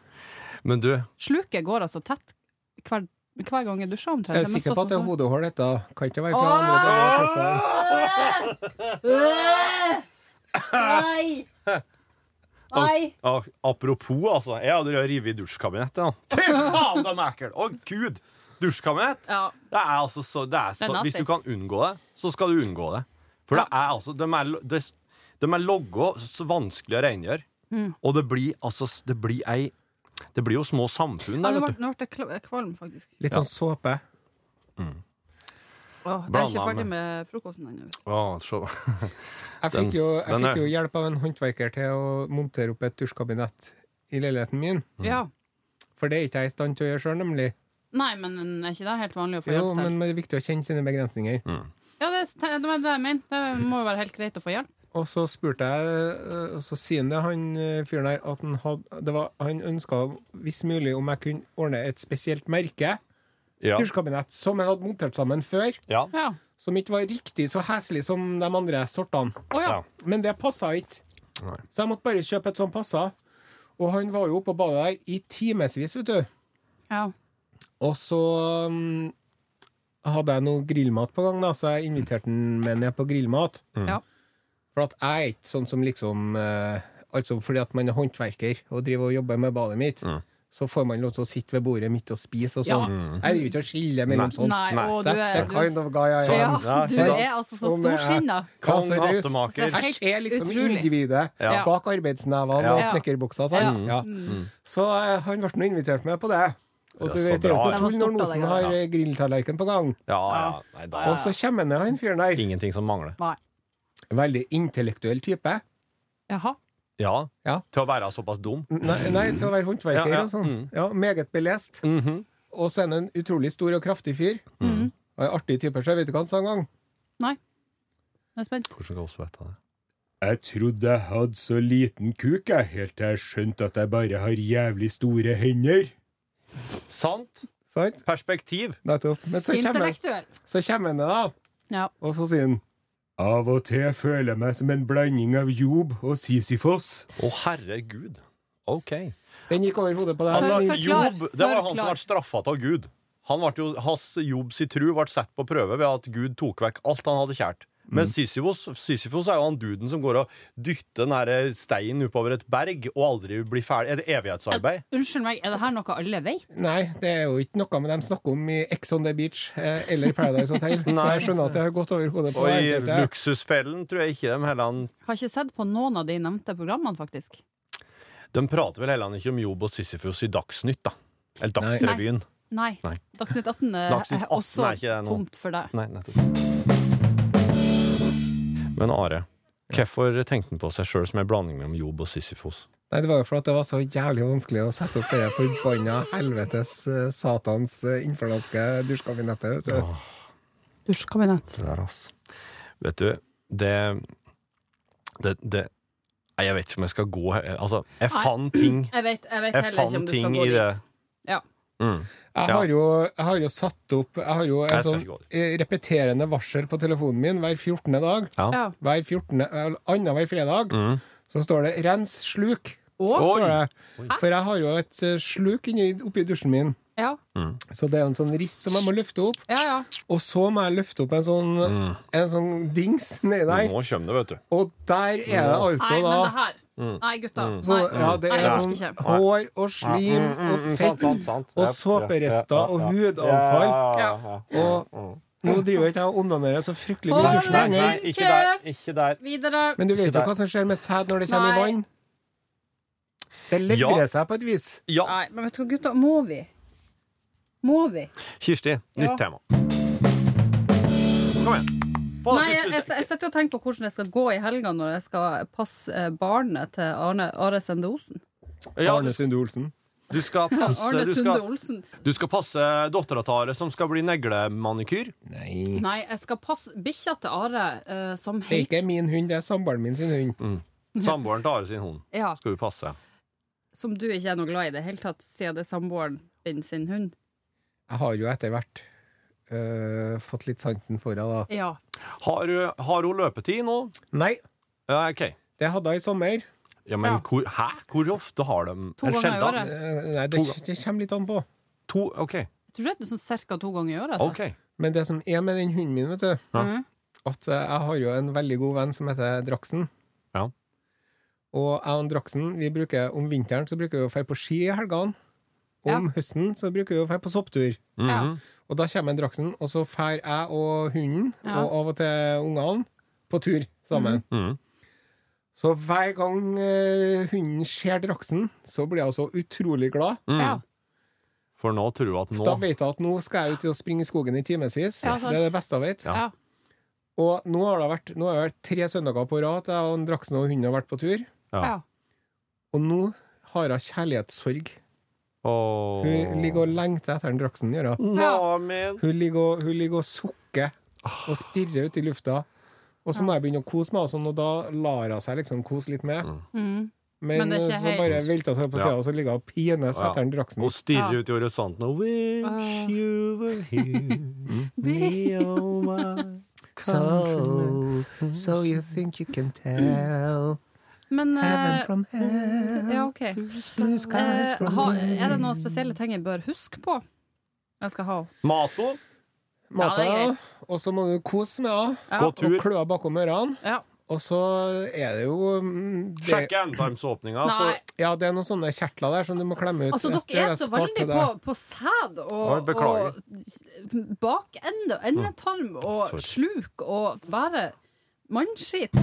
[SPEAKER 3] Men du,
[SPEAKER 4] Sluket går altså tett hver, hver gang jeg dusjer omtrent.
[SPEAKER 2] Jeg er sikker på at det er
[SPEAKER 4] mister sånn-
[SPEAKER 2] hodehår, dette. Kan ikke være fra andre deler av kroppen.
[SPEAKER 1] Nei! Nei!
[SPEAKER 3] Ah, Apropos, altså. Jeg hadde revet i dusjkabinettet. da. Fy faen, de er ekle! Å, gud! Dusjkabinett!
[SPEAKER 4] Ja.
[SPEAKER 3] Det er altså så, det er
[SPEAKER 4] Det er
[SPEAKER 3] så
[SPEAKER 4] nasty.
[SPEAKER 3] Hvis du kan unngå det, så skal du unngå det. For det er altså De er, lo- de, de er logga så vanskelig å rengjøre.
[SPEAKER 4] Mm.
[SPEAKER 3] Og det blir altså s- Det blir ei Det blir jo små samfunn
[SPEAKER 4] Ja,
[SPEAKER 3] der,
[SPEAKER 4] Nå
[SPEAKER 3] vet du.
[SPEAKER 4] ble nå ble jeg kla- kvalm, faktisk.
[SPEAKER 2] Litt sånn såpe.
[SPEAKER 4] Åh, jeg er
[SPEAKER 3] Blanda
[SPEAKER 4] ikke ferdig
[SPEAKER 3] med-
[SPEAKER 4] med frokosten ennå.
[SPEAKER 3] Å, så.
[SPEAKER 2] Jeg fikk, jo, jeg
[SPEAKER 3] den er-
[SPEAKER 2] fikk jo hjelp av en håndverker til å montere opp et dusjkabinett i leiligheten min.
[SPEAKER 4] Ja.
[SPEAKER 2] For det er ikke jeg i stand til å gjøre sjøl, nemlig.
[SPEAKER 4] Nei, men er ikke det helt vanlig å få
[SPEAKER 2] Jo,
[SPEAKER 4] hjelp til?
[SPEAKER 2] men det er viktig å kjenne sine begrensninger.
[SPEAKER 4] Ja, det, er- det var det jeg mener. Det må jo være helt greit å få hjelp.
[SPEAKER 2] Og så spurte jeg, eh, og så sier han det, han eh, fyren her, at han, hadde, det var, han ønska hvis mulig om jeg kunne ordne et spesielt merke,
[SPEAKER 3] Ja.
[SPEAKER 2] dusjkabinett, som han hadde montert sammen før,
[SPEAKER 3] ja.
[SPEAKER 4] Ja.
[SPEAKER 2] som ikke var riktig så heslig som de andre sortene.
[SPEAKER 4] Å ja.
[SPEAKER 3] Ja.
[SPEAKER 2] Men det passa ikke. Så jeg måtte bare kjøpe et sånt passa. Og han var jo oppe og badet der i timevis, vet du.
[SPEAKER 4] ja.
[SPEAKER 2] Og så mm, hadde jeg noe grillmat på gang, da, så jeg inviterte han med ned på grillmat.
[SPEAKER 4] ja.
[SPEAKER 2] For at jeg er ikke sånn som liksom eh, Altså fordi at man er håndverker og driver og jobber med badet mitt,
[SPEAKER 3] Mm.
[SPEAKER 2] så får man lov til å sitte ved bordet mitt og spise og
[SPEAKER 4] Ja.
[SPEAKER 2] sånn. Jeg driver ikke og skiller mellom sånt.
[SPEAKER 4] Nei, og du
[SPEAKER 2] That's
[SPEAKER 4] er,
[SPEAKER 2] the
[SPEAKER 4] du,
[SPEAKER 2] kind of guy I
[SPEAKER 4] ja,
[SPEAKER 2] am.
[SPEAKER 3] Ja,
[SPEAKER 4] du
[SPEAKER 3] fy da.
[SPEAKER 4] er altså så
[SPEAKER 2] Som er-
[SPEAKER 4] storsinna.
[SPEAKER 2] Hva
[SPEAKER 3] Sånn. Kong
[SPEAKER 2] så raus?
[SPEAKER 3] hattemaker.
[SPEAKER 4] Altså,
[SPEAKER 2] Jeg ser ut som
[SPEAKER 4] Utrolig.
[SPEAKER 2] individet
[SPEAKER 4] Ja.
[SPEAKER 2] bak arbeidsnevene og
[SPEAKER 4] Ja.
[SPEAKER 3] Mm.
[SPEAKER 4] Mm.
[SPEAKER 2] snekkerbuksa. Sant?
[SPEAKER 4] Ja.
[SPEAKER 2] Ja. Så eh, han ble nå invitert med på det. Og
[SPEAKER 3] Det
[SPEAKER 2] du
[SPEAKER 3] er så
[SPEAKER 2] vet
[SPEAKER 3] bra,
[SPEAKER 2] jo
[SPEAKER 3] ja.
[SPEAKER 2] Tor
[SPEAKER 5] Jeg var
[SPEAKER 2] Norn
[SPEAKER 5] stolt av
[SPEAKER 2] Osen
[SPEAKER 5] deg,
[SPEAKER 2] har eh, grilltallerken på gang.
[SPEAKER 3] Ja, ja. Nei, da
[SPEAKER 2] Og så kommer han ned, han fyren der.
[SPEAKER 3] Ingenting som mangler.
[SPEAKER 4] Nei.
[SPEAKER 2] Veldig intellektuell type.
[SPEAKER 4] Jaha.
[SPEAKER 3] Ja.
[SPEAKER 2] Ja.
[SPEAKER 3] Til å være såpass dum.
[SPEAKER 2] Nei, nei til å være håndverker
[SPEAKER 3] Ja, Mm. ja.
[SPEAKER 2] og sånn. Ja, meget belest.
[SPEAKER 3] Mhm.
[SPEAKER 2] Og så er han en utrolig stor og kraftig fyr.
[SPEAKER 4] Mm.
[SPEAKER 2] Og en artig type. Så jeg vet ikke hva han sa en gang.
[SPEAKER 4] Jeg er spent.
[SPEAKER 3] Hvordan skal vi vite det?
[SPEAKER 2] Jeg trodde jeg hadde så liten kuk, jeg, helt til jeg skjønte at jeg bare har jævlig store hender.
[SPEAKER 3] Sant
[SPEAKER 2] Sant?
[SPEAKER 3] perspektiv.
[SPEAKER 2] Nettopp. Men så kommer han-
[SPEAKER 4] Intellektuell.
[SPEAKER 2] så kommer han ned, da.
[SPEAKER 4] Ja.
[SPEAKER 2] Og så sier han Av og til føler jeg meg som en blanding av Job og Sisyfos.
[SPEAKER 3] Å, herregud. OK.
[SPEAKER 2] Den gikk over hodet på deg.
[SPEAKER 4] Altså,
[SPEAKER 2] Den-
[SPEAKER 4] for- Forklar,
[SPEAKER 3] Jobb, det var han som
[SPEAKER 4] forklar.
[SPEAKER 3] ble straffa av Gud. Han ble jo, hans jobb si tru ble satt på prøve ved at Gud tok vekk alt han hadde kjært. Men Sisyfos, Sisyfos er jo han duden som går og dytter den her eh, steinen oppover et berg og aldri blir ferdig. Er det evighetsarbeid?
[SPEAKER 4] Unnskyld meg, er det her noe alle vet?
[SPEAKER 2] Nei, det er jo ikke noe med dem snakker om i Ex on the Beach eh, eller Paradise Hotel. så jeg skjønner at det har gått over hodet på
[SPEAKER 3] Og i
[SPEAKER 2] enkelte.
[SPEAKER 3] Luksusfellen tror jeg ikke de heller
[SPEAKER 4] Har ikke sett på noen av de nevnte programmene, faktisk.
[SPEAKER 3] De prater vel heller ikke om jobb og Sisyfos i Dagsnytt, da. Eller Dagsrevyen.
[SPEAKER 4] Nei.
[SPEAKER 3] Nei.
[SPEAKER 4] Dagsnytt 18 er,
[SPEAKER 3] Dagsnytt
[SPEAKER 4] er
[SPEAKER 3] 18
[SPEAKER 4] også
[SPEAKER 3] er ikke det nå.
[SPEAKER 4] tomt for deg.
[SPEAKER 3] Nei, nettopp. Men Are, hvorfor tenkte han på seg sjøl som en blanding mellom jobb og Sisyfos?
[SPEAKER 2] Nei, det var jo for at det var så jævlig vanskelig å sette opp det der forbanna helvetes eh, satans eh, infernalske dusjkabinettet. Vet du.
[SPEAKER 4] Dusjkabinett.
[SPEAKER 3] Det der, ass. Vet du, det, det, det Nei, jeg vet ikke om jeg skal gå her Altså, jeg
[SPEAKER 4] Nei.
[SPEAKER 3] fant ting
[SPEAKER 4] Jeg vet, jeg vet
[SPEAKER 3] Jeg
[SPEAKER 4] heller ikke om
[SPEAKER 3] fant
[SPEAKER 4] du skal
[SPEAKER 3] ting
[SPEAKER 4] gå
[SPEAKER 3] i
[SPEAKER 4] dit.
[SPEAKER 3] det
[SPEAKER 4] Ja.
[SPEAKER 3] mm.
[SPEAKER 2] Jeg,
[SPEAKER 3] Ja.
[SPEAKER 2] har jo, jeg har jo satt opp Jeg har jo
[SPEAKER 3] Jeg
[SPEAKER 2] en
[SPEAKER 3] skal
[SPEAKER 2] sånn
[SPEAKER 3] ikke gå dit.
[SPEAKER 2] eh, repeterende varsel på telefonen min hver 14. dag.
[SPEAKER 4] Ja.
[SPEAKER 2] Hver 14. eh, Annenhver fredag
[SPEAKER 3] Mm.
[SPEAKER 2] så står det 'rens sluk'.
[SPEAKER 4] Og,
[SPEAKER 3] Oi.
[SPEAKER 2] Står det. For jeg har jo et eh, sluk inni, oppi dusjen min.
[SPEAKER 4] ja.
[SPEAKER 2] Så det er jo en sånn rist som jeg må løfte opp.
[SPEAKER 4] Ja, ja.
[SPEAKER 2] Og så må jeg løfte opp en sånn,
[SPEAKER 3] Mm.
[SPEAKER 2] en sånn dings nedi der.
[SPEAKER 3] Nå kommer det, vet du.
[SPEAKER 2] Og der er det altså
[SPEAKER 4] Nei, men
[SPEAKER 2] da
[SPEAKER 4] det her
[SPEAKER 3] Mm.
[SPEAKER 4] Nei, gutta.
[SPEAKER 2] så,
[SPEAKER 4] Nei.
[SPEAKER 2] ja, det
[SPEAKER 4] Nei,
[SPEAKER 2] er
[SPEAKER 4] jeg
[SPEAKER 2] sånn
[SPEAKER 4] orker ikke.
[SPEAKER 2] hår og slim og fett og såperester og hudavfall. Og nå driver jo ikke jeg og onanerer så fryktelig mye i dusjen
[SPEAKER 4] Hold
[SPEAKER 2] lenger.
[SPEAKER 4] deg kjeft! Videre.
[SPEAKER 2] Men du vet jo hva som skjer med sæd når det kommer i
[SPEAKER 4] Nei.
[SPEAKER 2] vann. Det legger
[SPEAKER 3] Ja.
[SPEAKER 2] seg på et vis.
[SPEAKER 3] Ja,
[SPEAKER 4] Nei, men vet du hva, gutta, må vi? Må vi?
[SPEAKER 3] Kirsti, nytt
[SPEAKER 4] Ja.
[SPEAKER 3] tema. Kom igjen. Få
[SPEAKER 4] Nei, jeg,
[SPEAKER 3] det
[SPEAKER 4] jeg,
[SPEAKER 3] siste
[SPEAKER 4] jeg
[SPEAKER 3] ut.
[SPEAKER 4] sitter jo og tenker på hvordan jeg skal gå i helga når jeg skal passe eh, barnet til Arne, Are Sende Osen.
[SPEAKER 3] Ja,
[SPEAKER 2] Arne Sunde Olsen.
[SPEAKER 3] du, du skal passe
[SPEAKER 4] Arne
[SPEAKER 3] Du
[SPEAKER 4] Sunde
[SPEAKER 3] skal,
[SPEAKER 4] Olsen.
[SPEAKER 3] du skal passe dattera til Are, som skal bli neglemanikyr.
[SPEAKER 2] Nei.
[SPEAKER 4] Nei, jeg skal passe bikkja til Are, eh, som
[SPEAKER 2] Det er
[SPEAKER 4] heter
[SPEAKER 2] ikke min hund, det er samboeren min sin hund.
[SPEAKER 3] Samboeren til Are sin hund
[SPEAKER 4] Ja,
[SPEAKER 3] skal du passe.
[SPEAKER 4] som du ikke er noe glad i i det hele tatt, siden det er samboeren din sin hund.
[SPEAKER 2] Jeg har jo etter hvert øh, fått litt sansen for henne, da.
[SPEAKER 4] Ja.
[SPEAKER 3] Har, eh, har hun løpetid nå?
[SPEAKER 2] Nei,
[SPEAKER 3] Ja, ok.
[SPEAKER 2] det hadde jeg i sommer.
[SPEAKER 3] Ja, men
[SPEAKER 4] Ja.
[SPEAKER 3] Hvor, hæ? Hvor ofte har de
[SPEAKER 4] To
[SPEAKER 3] Er det
[SPEAKER 4] ganger i
[SPEAKER 3] sjelden?
[SPEAKER 4] året.
[SPEAKER 2] Eh, Nei, det, det kommer litt an på.
[SPEAKER 3] To, ok,
[SPEAKER 4] Jeg tror det er sånn cirka to ganger i året. Altså.
[SPEAKER 3] ok
[SPEAKER 2] Men det som er med den hunden min, vet du,
[SPEAKER 3] Ja.
[SPEAKER 4] Mhm.
[SPEAKER 2] at eh, jeg har jo en veldig god venn som heter Draksen.
[SPEAKER 3] Ja.
[SPEAKER 2] Og jeg og Draksen, vi bruker om vinteren så bruker vi å dra på ski i helgene. Og om høsten så bruker vi å dra på sopptur.
[SPEAKER 3] Mhm.
[SPEAKER 2] Og da kommer Draksen, og så drar jeg og hunden,
[SPEAKER 4] Ja.
[SPEAKER 2] og av og til ungene, på tur sammen.
[SPEAKER 3] Mhm.
[SPEAKER 2] Så hver gang eh, hunden ser Draksen, så blir hun så utrolig glad.
[SPEAKER 3] Mhm.
[SPEAKER 4] Ja.
[SPEAKER 3] For nå tror jeg at nå
[SPEAKER 2] Da vet hun at nå skal jeg ut og springe i skogen i timevis.
[SPEAKER 4] Ja, sant.
[SPEAKER 2] det er det beste jeg vet.
[SPEAKER 3] Ja.
[SPEAKER 4] Ja.
[SPEAKER 2] Og nå har det vært, nå har det vært tre søndager på rad at jeg og Draksen og hunden har vært på tur.
[SPEAKER 3] Ja.
[SPEAKER 4] Ja.
[SPEAKER 2] Og nå har hun kjærlighetssorg.
[SPEAKER 3] Åh.
[SPEAKER 2] Hun ligger og lengter etter den Draksen. Gjør
[SPEAKER 4] Mm.
[SPEAKER 2] hun.
[SPEAKER 3] Nå, men
[SPEAKER 2] Hun, ligger og, hun ligger og sukker og stirrer ut i lufta. Og så må jeg begynne å kose meg, og, sånn, og da lar hun seg liksom kose litt med.
[SPEAKER 4] Mm.
[SPEAKER 2] Men,
[SPEAKER 4] Men det er ikke
[SPEAKER 2] så
[SPEAKER 4] helt-
[SPEAKER 2] bare velter hun seg på
[SPEAKER 3] Ja.
[SPEAKER 2] sida, og så ligger hun og pines
[SPEAKER 3] Ja.
[SPEAKER 2] etter den Draksen.
[SPEAKER 3] Hun stirrer
[SPEAKER 4] Ja. Ah."
[SPEAKER 3] ut i horisonten og wish
[SPEAKER 4] Åh.
[SPEAKER 3] you were here Me oh my
[SPEAKER 2] So, so you think you can tell
[SPEAKER 4] Men eh,
[SPEAKER 2] heaven from hell?
[SPEAKER 4] Ja, OK.
[SPEAKER 2] Blue skies
[SPEAKER 4] Eh,
[SPEAKER 2] from
[SPEAKER 4] ha, er det noen spesielle ting jeg bør huske på? Jeg skal ha
[SPEAKER 3] Mato,
[SPEAKER 2] Mata,
[SPEAKER 4] Ja, det er greit.
[SPEAKER 2] og så må du kose med henne.
[SPEAKER 4] Ja.
[SPEAKER 3] gå
[SPEAKER 2] Og
[SPEAKER 3] tur
[SPEAKER 2] kløa bakom ørene.
[SPEAKER 4] Ja.
[SPEAKER 2] Og så er det jo mm, det,
[SPEAKER 3] Sjekke endetarmsåpninga
[SPEAKER 4] Nei,
[SPEAKER 3] for,
[SPEAKER 2] Ja, det er noen sånne kjertler der som du må klemme ut.
[SPEAKER 4] altså
[SPEAKER 2] Jeg
[SPEAKER 4] dere er
[SPEAKER 2] jeg
[SPEAKER 4] så
[SPEAKER 2] sparte
[SPEAKER 4] veldig
[SPEAKER 2] det.
[SPEAKER 4] på, på sæd
[SPEAKER 3] Ja,
[SPEAKER 4] og,
[SPEAKER 3] beklager. Mm.
[SPEAKER 4] og bakende, endetarm og
[SPEAKER 3] Sorry.
[SPEAKER 4] sluk og bare mannskit.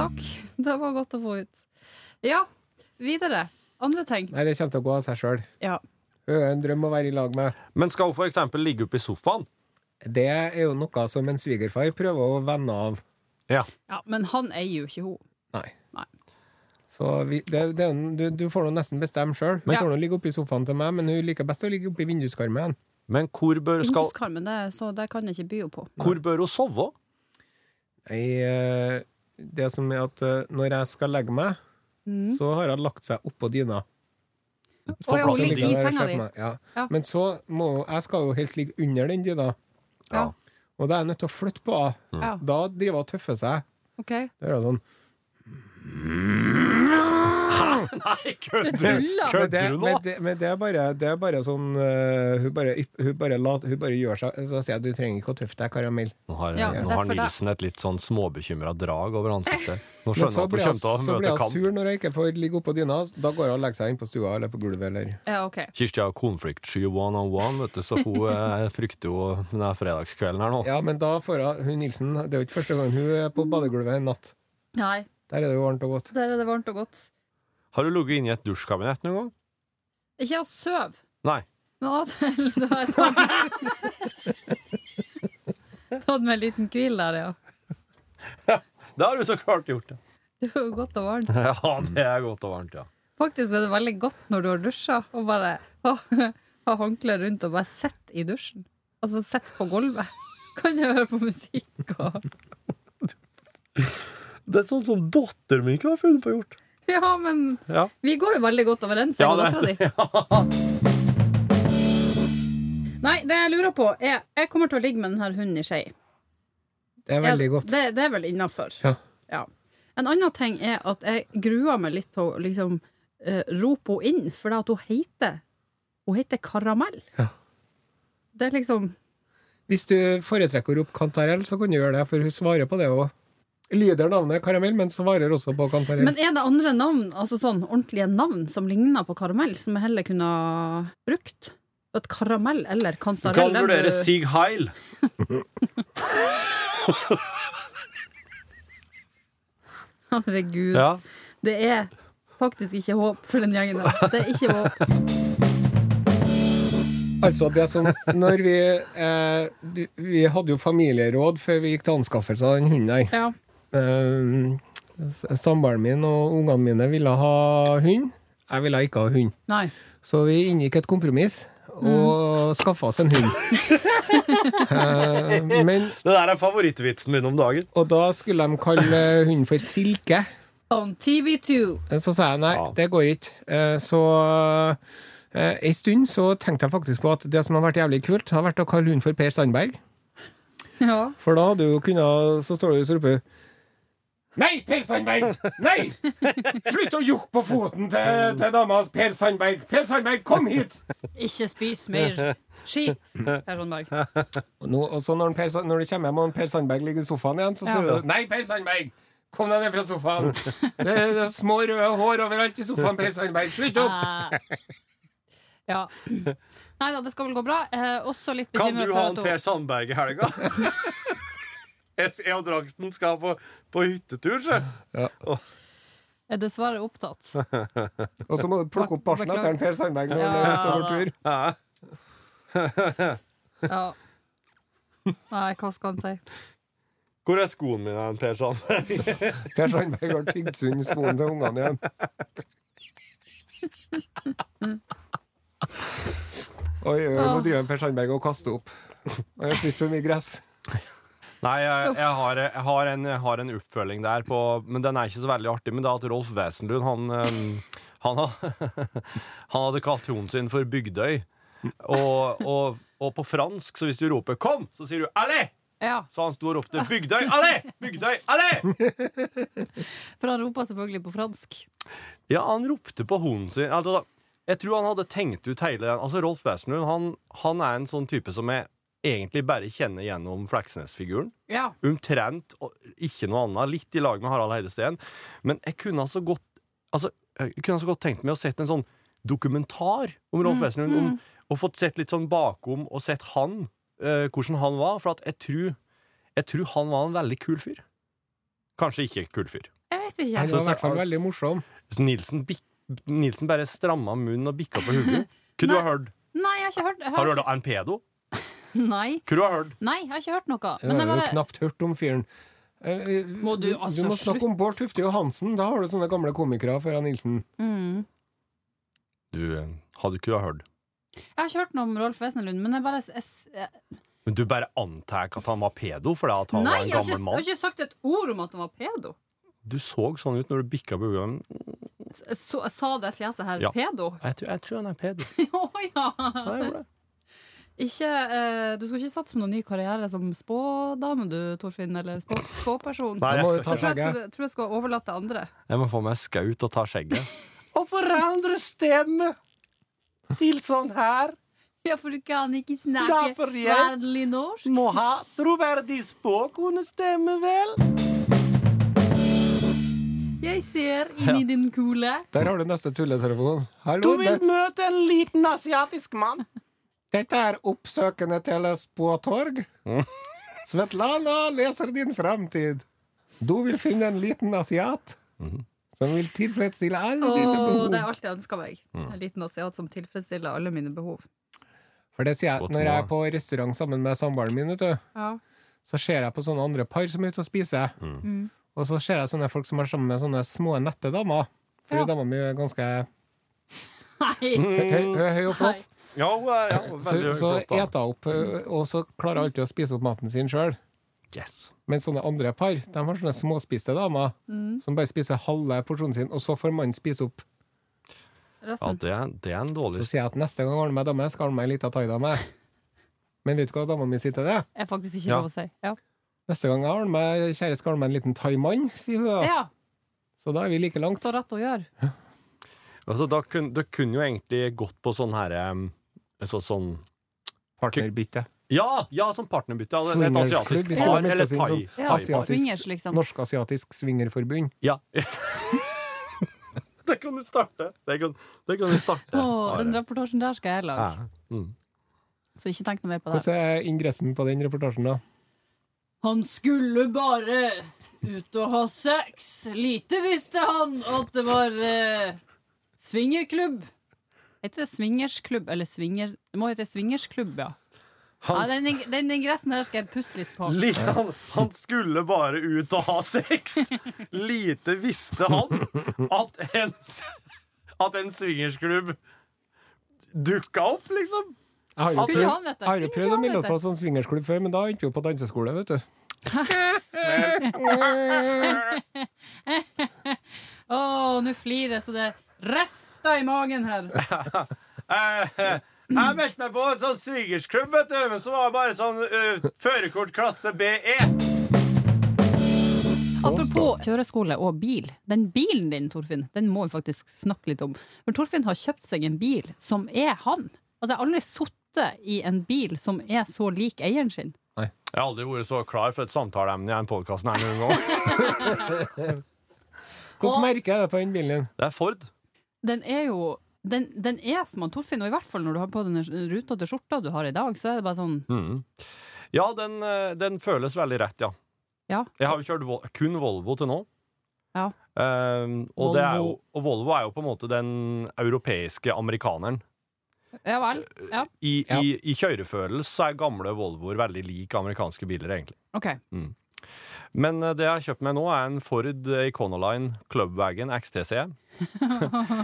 [SPEAKER 4] Takk. Det var godt å få ut. Ja, videre. Andre ting.
[SPEAKER 2] Nei, det kommer til å gå av seg sjøl.
[SPEAKER 4] Ja.
[SPEAKER 2] Hun er en drøm å være i lag med.
[SPEAKER 3] Men skal hun for eksempel ligge oppe i sofaen?
[SPEAKER 2] Det er jo noe som en svigerfar prøver å vende av.
[SPEAKER 3] Ja.
[SPEAKER 4] ja. Men han eier jo ikke henne.
[SPEAKER 2] Nei.
[SPEAKER 4] Nei.
[SPEAKER 2] Så vi, det, det, er en- du, du får nå nesten bestemme sjøl. Hun
[SPEAKER 4] Ja.
[SPEAKER 2] får nå ligge oppi sofaen til meg, men hun liker best å ligge oppi vinduskarmen.
[SPEAKER 3] Men hvor bør, skal,
[SPEAKER 4] Vinduskarmen, det, så det kan jeg ikke by henne på.
[SPEAKER 3] hvor bør hun sove?
[SPEAKER 2] Jeg, eh, det som er at eh, når jeg skal legge meg, så har hun lagt seg oppå dyna.
[SPEAKER 4] Mm. Å
[SPEAKER 3] plass
[SPEAKER 4] ja, hun
[SPEAKER 3] til
[SPEAKER 4] ligger i
[SPEAKER 2] ligger der
[SPEAKER 4] senga
[SPEAKER 2] sjef
[SPEAKER 4] di.
[SPEAKER 2] meg, Ja.
[SPEAKER 4] Ja.
[SPEAKER 2] Men så må jeg skal jo helst ligge under den dyna,
[SPEAKER 4] Ja.
[SPEAKER 2] og da er jeg nødt til å flytte på henne.
[SPEAKER 4] Ja.
[SPEAKER 2] Da driver hun og tøffer seg.
[SPEAKER 4] OK.
[SPEAKER 2] Da er hun sånn
[SPEAKER 3] Nei, kødder
[SPEAKER 4] Du tuller.
[SPEAKER 2] men det,
[SPEAKER 3] kødder du nå?
[SPEAKER 2] men, det, men det er bare Det er bare sånn eh, hun, bare, hun, bare lat, hun bare gjør seg Så sier jeg du trenger ikke å tøffe deg, Karamell.
[SPEAKER 3] Nå har,
[SPEAKER 4] Ja,
[SPEAKER 3] nå har
[SPEAKER 4] derfor det-
[SPEAKER 3] Nilsen et litt sånn småbekymra drag over ansiktet. Nå
[SPEAKER 2] Men
[SPEAKER 3] skjønner
[SPEAKER 2] så
[SPEAKER 3] jeg at hun
[SPEAKER 2] blir hun
[SPEAKER 3] kommer til
[SPEAKER 2] så
[SPEAKER 3] å
[SPEAKER 2] blir
[SPEAKER 3] møte
[SPEAKER 2] hun
[SPEAKER 3] kamp.
[SPEAKER 2] sur når hun ikke får ligge oppå dyna. Da går hun og legger seg inn på stua eller på gulvet eller
[SPEAKER 4] Ja, ok.
[SPEAKER 3] Kirsti har konfliktsky one on one, vet du, så hun eh, frykter jo denne fredagskvelden her nå.
[SPEAKER 2] Ja, men da får hun hun Nilsen Det er jo ikke første gang hun er på badegulvet en natt.
[SPEAKER 4] Nei,
[SPEAKER 2] Der er det jo varmt og godt.
[SPEAKER 4] der er det varmt og godt.
[SPEAKER 3] Har du ligget inne i et dusjkabinett noen gang?
[SPEAKER 4] Ikke jeg sover,
[SPEAKER 3] Nei.
[SPEAKER 4] men av og til så har jeg tatt Tatt meg en liten hvil der, ja.
[SPEAKER 3] Det har du så klart gjort. det.
[SPEAKER 4] Det er jo godt og varmt.
[SPEAKER 3] Ja, det er godt og varmt, ja.
[SPEAKER 4] Faktisk er det veldig godt når du har dusja, og bare ha, ha håndkle rundt og bare sitte i dusjen. Altså sitte på gulvet. Kan jeg høre på musikk og
[SPEAKER 3] Det er sånn som datteren min ikke har funnet på å gjort.
[SPEAKER 4] Ja, men
[SPEAKER 3] Ja.
[SPEAKER 4] vi går jo veldig godt overens, jeg
[SPEAKER 3] Ja,
[SPEAKER 4] og dattera
[SPEAKER 3] det-
[SPEAKER 4] di. Nei, det jeg lurer på, er Jeg kommer til å ligge med denne hunden i skje.
[SPEAKER 2] Det er veldig
[SPEAKER 4] Ja,
[SPEAKER 2] godt.
[SPEAKER 4] Det, det er vel innafor.
[SPEAKER 2] Ja.
[SPEAKER 4] En annen ting er at jeg gruer meg litt til å liksom, eh, rope henne inn, for det at hun heter Hun heter Karamell.
[SPEAKER 2] Ja.
[SPEAKER 4] Det er liksom
[SPEAKER 2] Hvis du foretrekker å rope kantarell, så kan du gjøre det, for hun svarer på det òg. Lyder navnet Karamell, men svarer også på kantarell.
[SPEAKER 4] Men er det andre navn, altså sånn ordentlige navn, som ligner på karamell, som jeg heller kunne ha brukt? Et karamell eller
[SPEAKER 3] Du
[SPEAKER 4] kantarell?
[SPEAKER 3] kan
[SPEAKER 4] det er
[SPEAKER 3] vurdere
[SPEAKER 4] jo-
[SPEAKER 3] Sig Heil.
[SPEAKER 4] Herregud.
[SPEAKER 3] Ja.
[SPEAKER 4] Det er faktisk ikke håp for den gjengen der. Det er ikke håp.
[SPEAKER 2] Altså det som Når vi eh, du, Vi hadde jo familieråd før vi gikk til anskaffelse av den hunden der.
[SPEAKER 4] Ja.
[SPEAKER 2] Eh, s- Samboeren min og ungene mine ville ha hund. Jeg ville ikke ha hund.
[SPEAKER 4] Nei.
[SPEAKER 2] Så vi inngikk et kompromiss og skaffa oss en hund. Eh, men,
[SPEAKER 3] Det der er favorittvitsen min om dagen.
[SPEAKER 2] og da skulle de kalle hunden for Silke. Eh,
[SPEAKER 4] On TV2.
[SPEAKER 2] Så sa jeg nei,
[SPEAKER 3] Ja.
[SPEAKER 2] det går ikke. Eh, Så eh, ei stund så tenkte jeg faktisk på at det som har vært jævlig kult, har vært å kalle hunden for Per Sandberg.
[SPEAKER 4] Ja.
[SPEAKER 2] For da hadde du jo kunnet Så står du og roper Nei, Per Sandberg! Nei! Slutt å jokke på foten til, til dama hans, Per Sandberg! Per Sandberg, kom hit!
[SPEAKER 4] Ikke spis mer skit, Per Sandberg.
[SPEAKER 2] Og, nå, og så når, han per, Sa- når du kommer hjem og han Per Sandberg ligger i sofaen igjen, så sier
[SPEAKER 4] Ja.
[SPEAKER 2] du Nei, Per Sandberg! Kom deg ned fra sofaen! Det er, det er små røde hår overalt i sofaen, Per Sandberg! Slutt opp!
[SPEAKER 4] Eh, Ja. Nei da, det skal vel gå bra. Eh, også litt
[SPEAKER 3] Kan
[SPEAKER 4] bekymret
[SPEAKER 3] du
[SPEAKER 4] for
[SPEAKER 3] ha
[SPEAKER 4] at
[SPEAKER 3] en
[SPEAKER 4] hun-
[SPEAKER 3] Per Sandberg i helga? Jeg jeg og Dragsten skal på, på hyttetur, sjø.
[SPEAKER 4] er dessverre opptatt.
[SPEAKER 2] Og så må du plukke opp barsen etter han Per Sandberg når han er
[SPEAKER 4] Ja,
[SPEAKER 2] ute og
[SPEAKER 4] da.
[SPEAKER 2] går tur.
[SPEAKER 3] Ja.
[SPEAKER 4] Ja. Nei, hva skal han si?
[SPEAKER 3] Hvor er skoen min, hen, Per Sandberg?
[SPEAKER 2] Per Sandberg har tygd sund skoen til ungene igjen. Oi, oi, oi, nå driver Per Sandberg og kaster opp. Han har spist for mye gress.
[SPEAKER 3] Nei, jeg, jeg, har, jeg, har en, jeg har en oppfølging der på Men den er ikke så veldig artig. Men det er at Rolf Wesenlund, han ehm, Han, ha- han hadde kalt hunden sin for Bygdøy. Og, og, og på fransk, så hvis du roper 'kom', så sier du 'allé'.
[SPEAKER 4] Ja,
[SPEAKER 3] Så han sto og ropte 'Bygdøy, allé! Bygdøy, allé!'
[SPEAKER 4] For han roper selvfølgelig på fransk.
[SPEAKER 3] Ja, han ropte på hunden sin. Altså, jeg tror han hadde tenkt ut hele den Altså, Rolf Wesenlund, han, han er en sånn type som jeg egentlig bare kjenner gjennom Fleksnes-figuren.
[SPEAKER 4] Ja.
[SPEAKER 3] Omtrent og ikke noe annet. Litt i lag med Harald Eide Steen. Men jeg kunne altså godt Altså, jeg kunne altså godt tenkt meg å sett en sånn dokumentar om Rolf
[SPEAKER 4] Mm,
[SPEAKER 3] Wesenlund. om- Og fått sett litt sånn bakom og sett han, eh, hvordan han var. For at jeg tror, jeg tror han var en veldig kul fyr. Kanskje ikke kul fyr.
[SPEAKER 4] Jeg vet ikke.
[SPEAKER 2] Han
[SPEAKER 3] synes
[SPEAKER 2] var i
[SPEAKER 3] jeg-
[SPEAKER 2] hvert fall veldig morsom.
[SPEAKER 3] Så Nilsen bikka Nilsen bare stramma munnen og bikka på hodet? Kunne du ha hørt?
[SPEAKER 4] Nei, jeg har ikke hørt jeg
[SPEAKER 3] Har du hørt
[SPEAKER 4] ikke-
[SPEAKER 3] om en pedo?
[SPEAKER 4] Nei.
[SPEAKER 3] Kunne du ha hørt?
[SPEAKER 4] Nei, jeg har ikke hørt noe.
[SPEAKER 2] Jeg
[SPEAKER 4] Men jeg
[SPEAKER 2] har jo
[SPEAKER 4] bare
[SPEAKER 2] knapt hørt om fyren. Eh, eh,
[SPEAKER 4] Må du altså
[SPEAKER 2] må snakke om Bård Tufte Johansen. Da har du sånne gamle komikere fra Nilsen.
[SPEAKER 4] mm.
[SPEAKER 3] Du eh, hadde ikke ha hørt.
[SPEAKER 4] Jeg har ikke hørt noe om Rolf Wesenlund, men jeg bare jeg, s- jeg,
[SPEAKER 3] Men du bare antar at han var pedo fordi at han
[SPEAKER 4] Nei,
[SPEAKER 3] var en
[SPEAKER 4] jeg har,
[SPEAKER 3] gammel
[SPEAKER 4] ikke, jeg har
[SPEAKER 3] mann?
[SPEAKER 4] ikke sagt et ord om at han var pedo.
[SPEAKER 3] Du så sånn ut når du bikka på hodet.
[SPEAKER 4] Jeg Så, jeg sa det fjeset her
[SPEAKER 3] Ja.
[SPEAKER 4] pedo?
[SPEAKER 3] Jeg, tror- jeg tror han er pedo.
[SPEAKER 4] Å ja!
[SPEAKER 3] Ja, jeg gjorde det.
[SPEAKER 4] Ikke, eh, du skal ikke satse på noen ny karriere som spådame, du, Torfinn, eller spå, spåperson.
[SPEAKER 3] Nei,
[SPEAKER 2] Da må du ta
[SPEAKER 3] jeg skal ikke.
[SPEAKER 4] Jeg tror jeg,
[SPEAKER 2] skjegget.
[SPEAKER 4] skal, tror jeg skal overlate til andre.
[SPEAKER 3] Jeg må få meg skaut og ta skjegget. Og forandre stemme til sånn her.
[SPEAKER 4] Ja, for du kan ikke
[SPEAKER 3] snakke Derfor jeg-
[SPEAKER 4] vanlig norsk.
[SPEAKER 3] Må ha troverdig spåkonestemme, vel?
[SPEAKER 4] Jeg ser
[SPEAKER 3] inni Ja.
[SPEAKER 4] din kule.
[SPEAKER 2] Der har du neste tulletelefon. Hallo, det,
[SPEAKER 3] møte en liten asiatisk mann.
[SPEAKER 2] dette er oppsøkende til Spåtorg. Svetlana leser din framtid. Du vil finne en liten asiat
[SPEAKER 3] Mhm.
[SPEAKER 2] som vil tilfredsstille alle dine behov.
[SPEAKER 4] det er alt jeg ønsker meg.
[SPEAKER 3] Mm.
[SPEAKER 4] En liten asiat som tilfredsstiller alle mine behov.
[SPEAKER 2] For det sier jeg
[SPEAKER 3] Godt
[SPEAKER 2] når jeg er
[SPEAKER 3] mål.
[SPEAKER 2] på restaurant sammen med samboeren min, vet du.
[SPEAKER 4] Ja.
[SPEAKER 2] så ser jeg på sånne andre par som er ute og spiser.
[SPEAKER 3] Mm.
[SPEAKER 4] Mm.
[SPEAKER 2] Og så ser jeg sånne folk som er sammen med sånne små, nette damer. For
[SPEAKER 4] Ja.
[SPEAKER 2] dama mi er ganske høy,
[SPEAKER 3] Mm.
[SPEAKER 4] Nei!
[SPEAKER 2] høy, høy og flott.
[SPEAKER 3] Ja, hun er- ja,
[SPEAKER 2] Så,
[SPEAKER 3] veldig
[SPEAKER 2] så
[SPEAKER 3] godt, da.
[SPEAKER 2] eter hun opp, ø, og så klarer hun alltid å spise opp maten sin sjøl.
[SPEAKER 3] Yes.
[SPEAKER 2] Mens sånne andre par de har sånne småspiste damer
[SPEAKER 4] Mm.
[SPEAKER 2] som bare spiser halve porsjonen sin, og så får mannen spise opp.
[SPEAKER 3] Ja,
[SPEAKER 4] Resten.
[SPEAKER 3] det er, det er en
[SPEAKER 2] Så
[SPEAKER 3] dårlig
[SPEAKER 2] sier jeg at neste gang jeg ordner meg dame, skal jeg ordne meg ei lita thaidame. Men vet du hva dama mi sier til det?
[SPEAKER 4] er faktisk ikke
[SPEAKER 3] Ja.
[SPEAKER 4] lov å si. Ja.
[SPEAKER 2] Neste gang jeg ordner meg kjæreste, skal jeg ordne meg en liten thaimann, sier hun da.
[SPEAKER 4] ja.
[SPEAKER 2] Så da er vi like langt.
[SPEAKER 4] Så rett å gjøre.
[SPEAKER 3] altså, da kun, Det kunne jo egentlig gått på sånn herre så, sånn
[SPEAKER 2] Partnerbytte.
[SPEAKER 3] Ja! ja, Sånn partnerbytte. Altså, et
[SPEAKER 2] Swingersklubb,
[SPEAKER 3] asiatisk
[SPEAKER 2] hvis
[SPEAKER 3] par
[SPEAKER 2] man meldte
[SPEAKER 3] eller
[SPEAKER 2] seg inn
[SPEAKER 3] thai.
[SPEAKER 2] som
[SPEAKER 4] Ja,
[SPEAKER 3] thai
[SPEAKER 2] asiatisk-
[SPEAKER 4] Swingers, liksom.
[SPEAKER 2] Norsk-asiatisk swingerforbund.
[SPEAKER 3] ja. Det kan du starte. Det kan, det kan du starte.
[SPEAKER 4] Å, den
[SPEAKER 3] Are.
[SPEAKER 4] reportasjen der skal jeg lage.
[SPEAKER 3] Ja. Mm.
[SPEAKER 4] Så ikke tenk noe mer på det.
[SPEAKER 2] Hvordan er ingressen på den reportasjen, da?
[SPEAKER 4] Han skulle bare ut og ha sex. Lite visste han at det var eh, swingerklubb. Heter det swingersklubb eller swinger... Det må hete swingersklubb, ja. ja
[SPEAKER 3] Han,
[SPEAKER 4] den, den ingressen her skal jeg pusse litt på.
[SPEAKER 3] li- han, han skulle bare ut og ha sex. Lite visste han at en, s- at en swingersklubb dukka opp, liksom.
[SPEAKER 2] Jeg har jo
[SPEAKER 3] At-
[SPEAKER 4] Kunne
[SPEAKER 2] prøvd,
[SPEAKER 4] han vite
[SPEAKER 2] jeg har jo
[SPEAKER 4] Kunne
[SPEAKER 2] prøvd
[SPEAKER 4] ikke
[SPEAKER 2] å
[SPEAKER 4] han
[SPEAKER 2] melde
[SPEAKER 4] vite?
[SPEAKER 2] oss på sånn swingersklubb før, men da endte vi jo på danseskole, vet du.
[SPEAKER 4] Å, nå flirer jeg så det rester i magen her.
[SPEAKER 3] Eh, eh, Jeg meldte meg på en sånn swingersklubb, vet du, men så var det bare sånn eh, førerkort klasse E. BE.
[SPEAKER 4] Apropos kjøreskole og bil. Den bilen din, Torfinn, den må vi faktisk snakke litt om. For Torfinn har kjøpt seg en bil som er han. Altså, jeg har aldri sittet i en bil som er så lik eieren sin.
[SPEAKER 3] Jeg har aldri vært så klar for et samtaleemne i en podkast her noen gang.
[SPEAKER 2] Hvordan merker jeg det på den bilen din?
[SPEAKER 3] Det er Ford.
[SPEAKER 4] Den er jo den, den er som han Torfinn, og i hvert fall når du har på den rutete skjorta du har i dag, så er det bare sånn
[SPEAKER 3] Ja, den, eh, den føles veldig rett, ja.
[SPEAKER 4] Ja.
[SPEAKER 3] Jeg har jo kjørt Vol kun Volvo til nå.
[SPEAKER 4] Ja.
[SPEAKER 3] Ehm, og, Det er jo,
[SPEAKER 4] Volvo.
[SPEAKER 3] og Volvo er jo på en måte den europeiske amerikaneren.
[SPEAKER 4] Ja vel. Ja.
[SPEAKER 3] I,
[SPEAKER 2] Ja.
[SPEAKER 3] i, i kjørefølelse så er gamle Volvoer veldig like amerikanske biler, egentlig.
[SPEAKER 4] OK.
[SPEAKER 3] Men eh, det jeg har kjøpt meg nå, er en Ford Econoline Clubwagon XTC.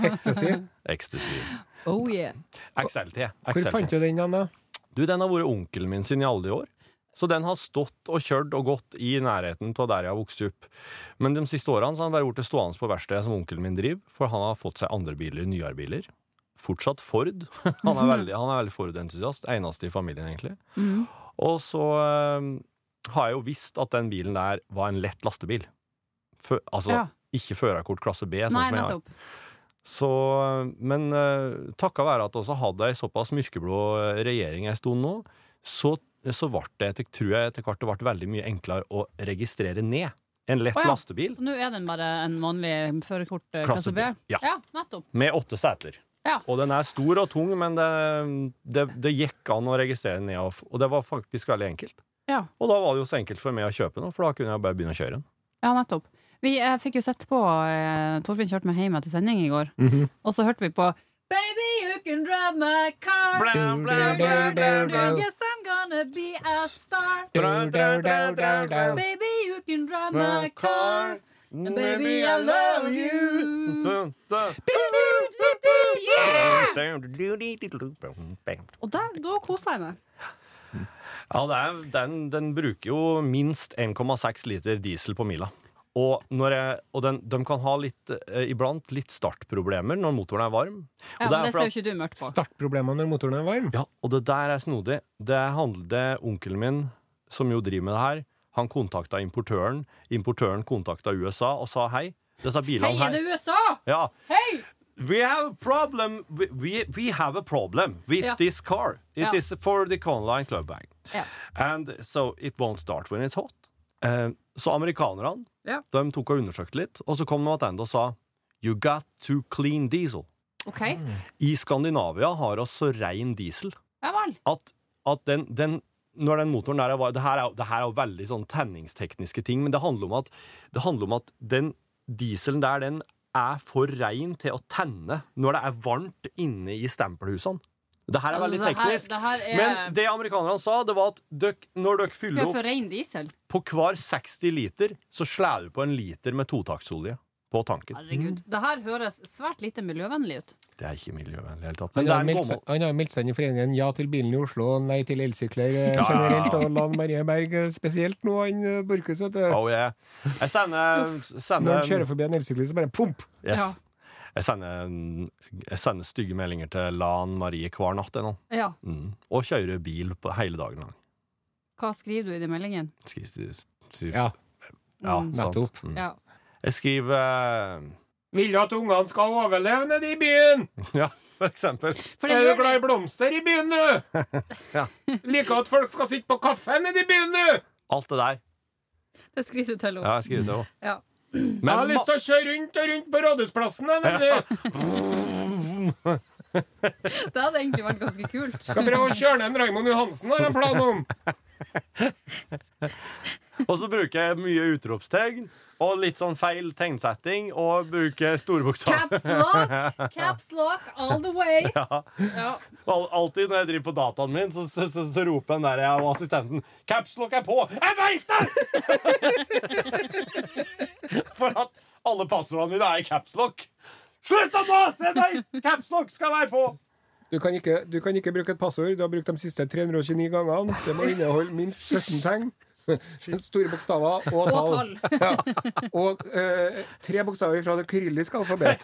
[SPEAKER 2] Ecstasy?
[SPEAKER 3] Ecstasy.
[SPEAKER 4] Oh yeah.
[SPEAKER 3] XLT.
[SPEAKER 2] Hvor fant
[SPEAKER 3] XLT.
[SPEAKER 2] du den, Anna?
[SPEAKER 3] Du, den har vært onkelen min sin i alle de år. Så den har stått og kjørt og gått i nærheten av der jeg har vokst opp. Men de siste årene så har han bare vært stående på verkstedet som onkelen min driver, for han har fått seg andre biler, nyere biler. Fortsatt Ford. Han er veldig, han er veldig Ford-entusiast. Eneste i familien, egentlig.
[SPEAKER 4] Mm.
[SPEAKER 3] Og så eh, har jeg jo visst at den bilen der var en lett lastebil. Fø- altså
[SPEAKER 4] Ja.
[SPEAKER 3] ikke førerkort klasse B, sånn
[SPEAKER 4] Nei,
[SPEAKER 3] som jeg har.
[SPEAKER 4] nettopp.
[SPEAKER 3] Så, men eh, takka være at også hadde ei såpass mørkeblå regjering ei stund nå, så, så ble det etter, tror jeg etter hvert det ble veldig mye enklere å registrere ned en lett
[SPEAKER 4] Å ja.
[SPEAKER 3] lastebil
[SPEAKER 4] Så nå er den bare en vanlig førerkort eh, klasse B?
[SPEAKER 3] Ja.
[SPEAKER 4] nettopp.
[SPEAKER 3] med åtte seter.
[SPEAKER 4] Ja.
[SPEAKER 3] Og den er stor og tung, men det, det, det gikk an å registrere ned, og, f- og det var faktisk veldig enkelt.
[SPEAKER 4] Ja.
[SPEAKER 3] Og da var det jo så enkelt for meg å kjøpe den, for da kunne jeg bare begynne å kjøre den.
[SPEAKER 4] Ja, nettopp. Vi, jeg fikk jo sett på eh, Torfinn kjørte meg hjem etter sending i går,
[SPEAKER 3] Mhm.
[SPEAKER 4] og så hørte vi på Baby, you can drive my car.
[SPEAKER 3] Blæ, blæ, blæ, blæ, blæ.
[SPEAKER 4] Yes, I'm gonna be a star.
[SPEAKER 2] Baby,
[SPEAKER 4] Baby, you can drive my car.
[SPEAKER 3] Mm.
[SPEAKER 4] Baby, I love you. Og der, da koser jeg meg.
[SPEAKER 3] Ja, det er, den, den bruker jo minst 1,6 liter diesel på mila. Og, når jeg, og den, de kan ha litt, eh, iblant litt startproblemer når motoren er varm. Og det
[SPEAKER 4] Ja,
[SPEAKER 3] er
[SPEAKER 4] men det
[SPEAKER 3] for at-
[SPEAKER 4] ser jo ikke du mørkt på.
[SPEAKER 2] Startproblemer når motoren er varm.
[SPEAKER 3] Ja, og det der er snodig. Det handler det onkelen min, som jo driver med det her, han kontakta importøren. Importøren kontakta USA og sa hei. Disse bilene
[SPEAKER 4] Hei, er det
[SPEAKER 3] her
[SPEAKER 4] USA?
[SPEAKER 3] ja.
[SPEAKER 4] Hei!
[SPEAKER 3] We have a problem We, we, we have a problem with
[SPEAKER 4] Ja.
[SPEAKER 3] this car. It
[SPEAKER 4] Ja.
[SPEAKER 3] is for the Conline Club Bag.
[SPEAKER 4] Ja.
[SPEAKER 3] And so it won't start when it's hot. Eh, så amerikanerne
[SPEAKER 4] Ja.
[SPEAKER 3] de tok og undersøkte litt, og så kom de tilbake og sa You got to clean diesel.
[SPEAKER 4] OK.
[SPEAKER 3] I Skandinavia har oss så rein diesel
[SPEAKER 4] Ja vel.
[SPEAKER 3] at, at den, den når den motoren der er var- Det her er, jo- det her er jo veldig sånn tenningstekniske ting, men det handler om at, det handler om at den dieselen der, den er for rein til å tenne når det er varmt inne i stempelhusene. Det her er veldig
[SPEAKER 4] Altså, det her-
[SPEAKER 3] teknisk.
[SPEAKER 4] det her er-
[SPEAKER 3] Men det amerikanerne sa, det var at døkk- når dere fyller
[SPEAKER 4] Vi
[SPEAKER 3] opp
[SPEAKER 4] for ren diesel.
[SPEAKER 3] på hver 60 liter, så slår du på en liter med totaktsolje på tanken.
[SPEAKER 4] Herregud. Det her høres svært lite miljøvennlig ut.
[SPEAKER 3] Det er ikke miljøvennlig i det hele tatt.
[SPEAKER 2] Han
[SPEAKER 3] Men det
[SPEAKER 2] har
[SPEAKER 3] er en
[SPEAKER 2] meldt seg- han
[SPEAKER 3] gammel
[SPEAKER 2] har meldt seg inn i foreningen Ja til bilen i Oslo, nei til elsykler eh,
[SPEAKER 3] Ja, ja, ja.
[SPEAKER 2] generelt, og Lan Marie Berg eh, spesielt nå, han eh, Borchhus, vet du.
[SPEAKER 3] Oh, yeah. Jeg
[SPEAKER 2] Når
[SPEAKER 3] sender,
[SPEAKER 2] han
[SPEAKER 3] sender
[SPEAKER 2] kjører forbi en elsykkel, så bare pump!
[SPEAKER 3] Yes.
[SPEAKER 4] Ja.
[SPEAKER 3] Jeg, sender, jeg sender stygge meldinger til Lan Marie hver natt jeg nå.
[SPEAKER 4] Ja.
[SPEAKER 3] Mm. Og kjører bil på hele dagen lang.
[SPEAKER 4] Hva skriver du i den meldingen?
[SPEAKER 3] Skri- skri- skri-
[SPEAKER 2] Ja,
[SPEAKER 3] Ja,
[SPEAKER 4] Mm.
[SPEAKER 3] sant.
[SPEAKER 2] nettopp.
[SPEAKER 3] Mm.
[SPEAKER 4] Ja.
[SPEAKER 3] Jeg skriver
[SPEAKER 2] Vil du at ungene skal overleve nede i byen?
[SPEAKER 3] eh, Ja, for eksempel.
[SPEAKER 4] For det gjør det.
[SPEAKER 2] i blomster i byen, du?
[SPEAKER 3] Ja.
[SPEAKER 2] Liker at folk skal sitte på kafé nede i byen, du?
[SPEAKER 3] Alt det der.
[SPEAKER 4] Det skriver du til henne.
[SPEAKER 3] Ja, jeg skriver til henne.
[SPEAKER 4] Ja.
[SPEAKER 3] Men ma-
[SPEAKER 2] til å kjøre rundt og rundt på Rådhusplassen. Jeg
[SPEAKER 4] Det hadde egentlig vært ganske kult.
[SPEAKER 2] prøve å kjøre ned Raymond Johansen, har jeg plan om.
[SPEAKER 3] Og så bruker jeg mye utropstegn og litt sånn feil tegnsetting og bruker store bokstaver.
[SPEAKER 4] Caps lock! Caps lock all the way!
[SPEAKER 3] Ja.
[SPEAKER 4] Ja.
[SPEAKER 3] Al- Alltid når jeg driver på dataen min, så, så, så, så roper den der jeg og assistenten Capslock er på! Jeg veit det! For at alle passordene mine er i capslock. Slutt å mase! Jeg veit capslock skal være på!
[SPEAKER 2] Du kan, ikke, du kan ikke bruke et passord. Du har brukt de siste 329 gangene. Det må inneholde minst 17 tegn. Store bokstaver og
[SPEAKER 4] Og
[SPEAKER 2] tall.
[SPEAKER 4] tall.
[SPEAKER 2] Ja. Og eh, tre bokstaver fra det kyrilliske alfabet.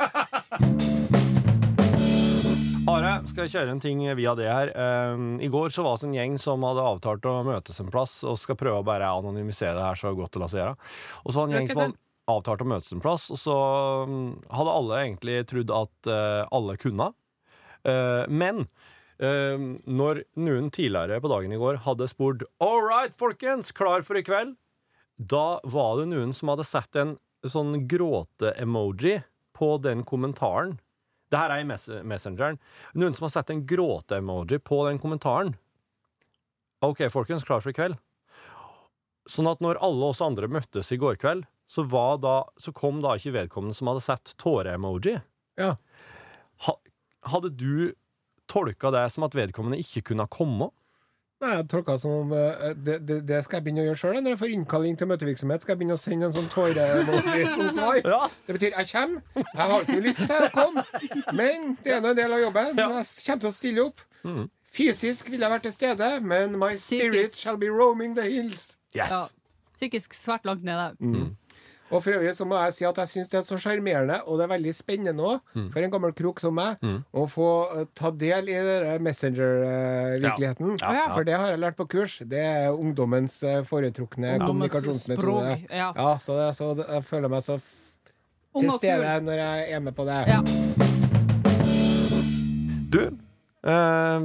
[SPEAKER 3] Are, skal jeg kjøre en ting via det her? Ehm, I går så var det en gjeng som hadde avtalt å møtes en plass, og skal prøve å bare anonymisere det her så godt det lar seg gjøre. Og så var det en gjeng som hadde avtalt å møtes en plass, og så mm, hadde alle egentlig trodd at eh, alle kunne. Eh, men eh, når noen tidligere på dagen i går hadde spurt All right, folkens, klar for i kveld? Da var det noen som hadde sett en sånn gråte-emoji på den kommentaren. Det her er i mess Messengeren. Noen som har sett en gråte-emoji på den kommentaren. Ok, folkens, klar for i kveld. Sånn at når alle oss andre møttes i går kveld, så, var da, så kom da ikke vedkommende som hadde sett tåre-emoji.
[SPEAKER 2] Ja.
[SPEAKER 3] Ha, hadde du tolka det som at vedkommende ikke kunne komme?
[SPEAKER 2] Nei, jeg tolka det som om eh, det, det, det skal jeg begynne å gjøre sjøl. Når jeg får innkalling til møtevirksomhet, skal jeg begynne å sende en sånn tåre-emoji som svar.
[SPEAKER 3] Ja.
[SPEAKER 2] Det betyr jeg kommer. Jeg har ikke noe lyst til å komme, men det er nå en del av jobben. Så jeg kommer til å stille opp. Fysisk vil jeg være til stede, men my spirit
[SPEAKER 4] Psykisk.
[SPEAKER 2] shall be roaming the hills.
[SPEAKER 3] Yes!
[SPEAKER 4] Ja. Psykisk svært langt nede.
[SPEAKER 3] Mm.
[SPEAKER 2] Og for øvrig så må jeg si at jeg syns det er så sjarmerende, og det er veldig spennende òg,
[SPEAKER 4] Mm.
[SPEAKER 2] for en gammel krok som meg, å få eh, ta del i den Messenger-virkeligheten.
[SPEAKER 3] Ja. Ja, ja.
[SPEAKER 2] For det har jeg lært på kurs. Det er ungdommens eh, foretrukne
[SPEAKER 4] Ungdommens
[SPEAKER 2] kommunikasjonsmetode.
[SPEAKER 4] språk, ja.
[SPEAKER 2] så, det, så det- jeg føler meg så f
[SPEAKER 4] Ung
[SPEAKER 2] til
[SPEAKER 4] og kul.
[SPEAKER 2] stede når jeg er med på det.
[SPEAKER 4] Ja.
[SPEAKER 3] Du eh,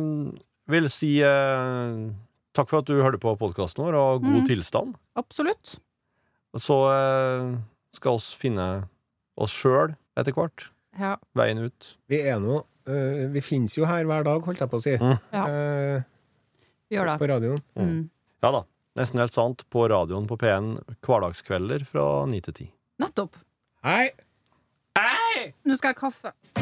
[SPEAKER 3] vil si eh, takk for at du hørte på podkasten vår, og god tilstand.
[SPEAKER 4] Absolutt.
[SPEAKER 3] Så eh, skal oss finne oss sjøl etter hvert.
[SPEAKER 4] Ja.
[SPEAKER 3] Veien ut.
[SPEAKER 2] Vi er nå eh, Vi finnes jo her hver dag, holdt jeg på å si.
[SPEAKER 4] Ja.
[SPEAKER 2] Eh,
[SPEAKER 4] Gjør det.
[SPEAKER 2] på radioen.
[SPEAKER 4] Mm.
[SPEAKER 3] Ja da. Nesten helt sant på radioen på P1 hverdagskvelder fra 9 til 10.
[SPEAKER 4] Nettopp.
[SPEAKER 2] Hei!
[SPEAKER 3] Hei!
[SPEAKER 4] Nå skal jeg ha kaffe.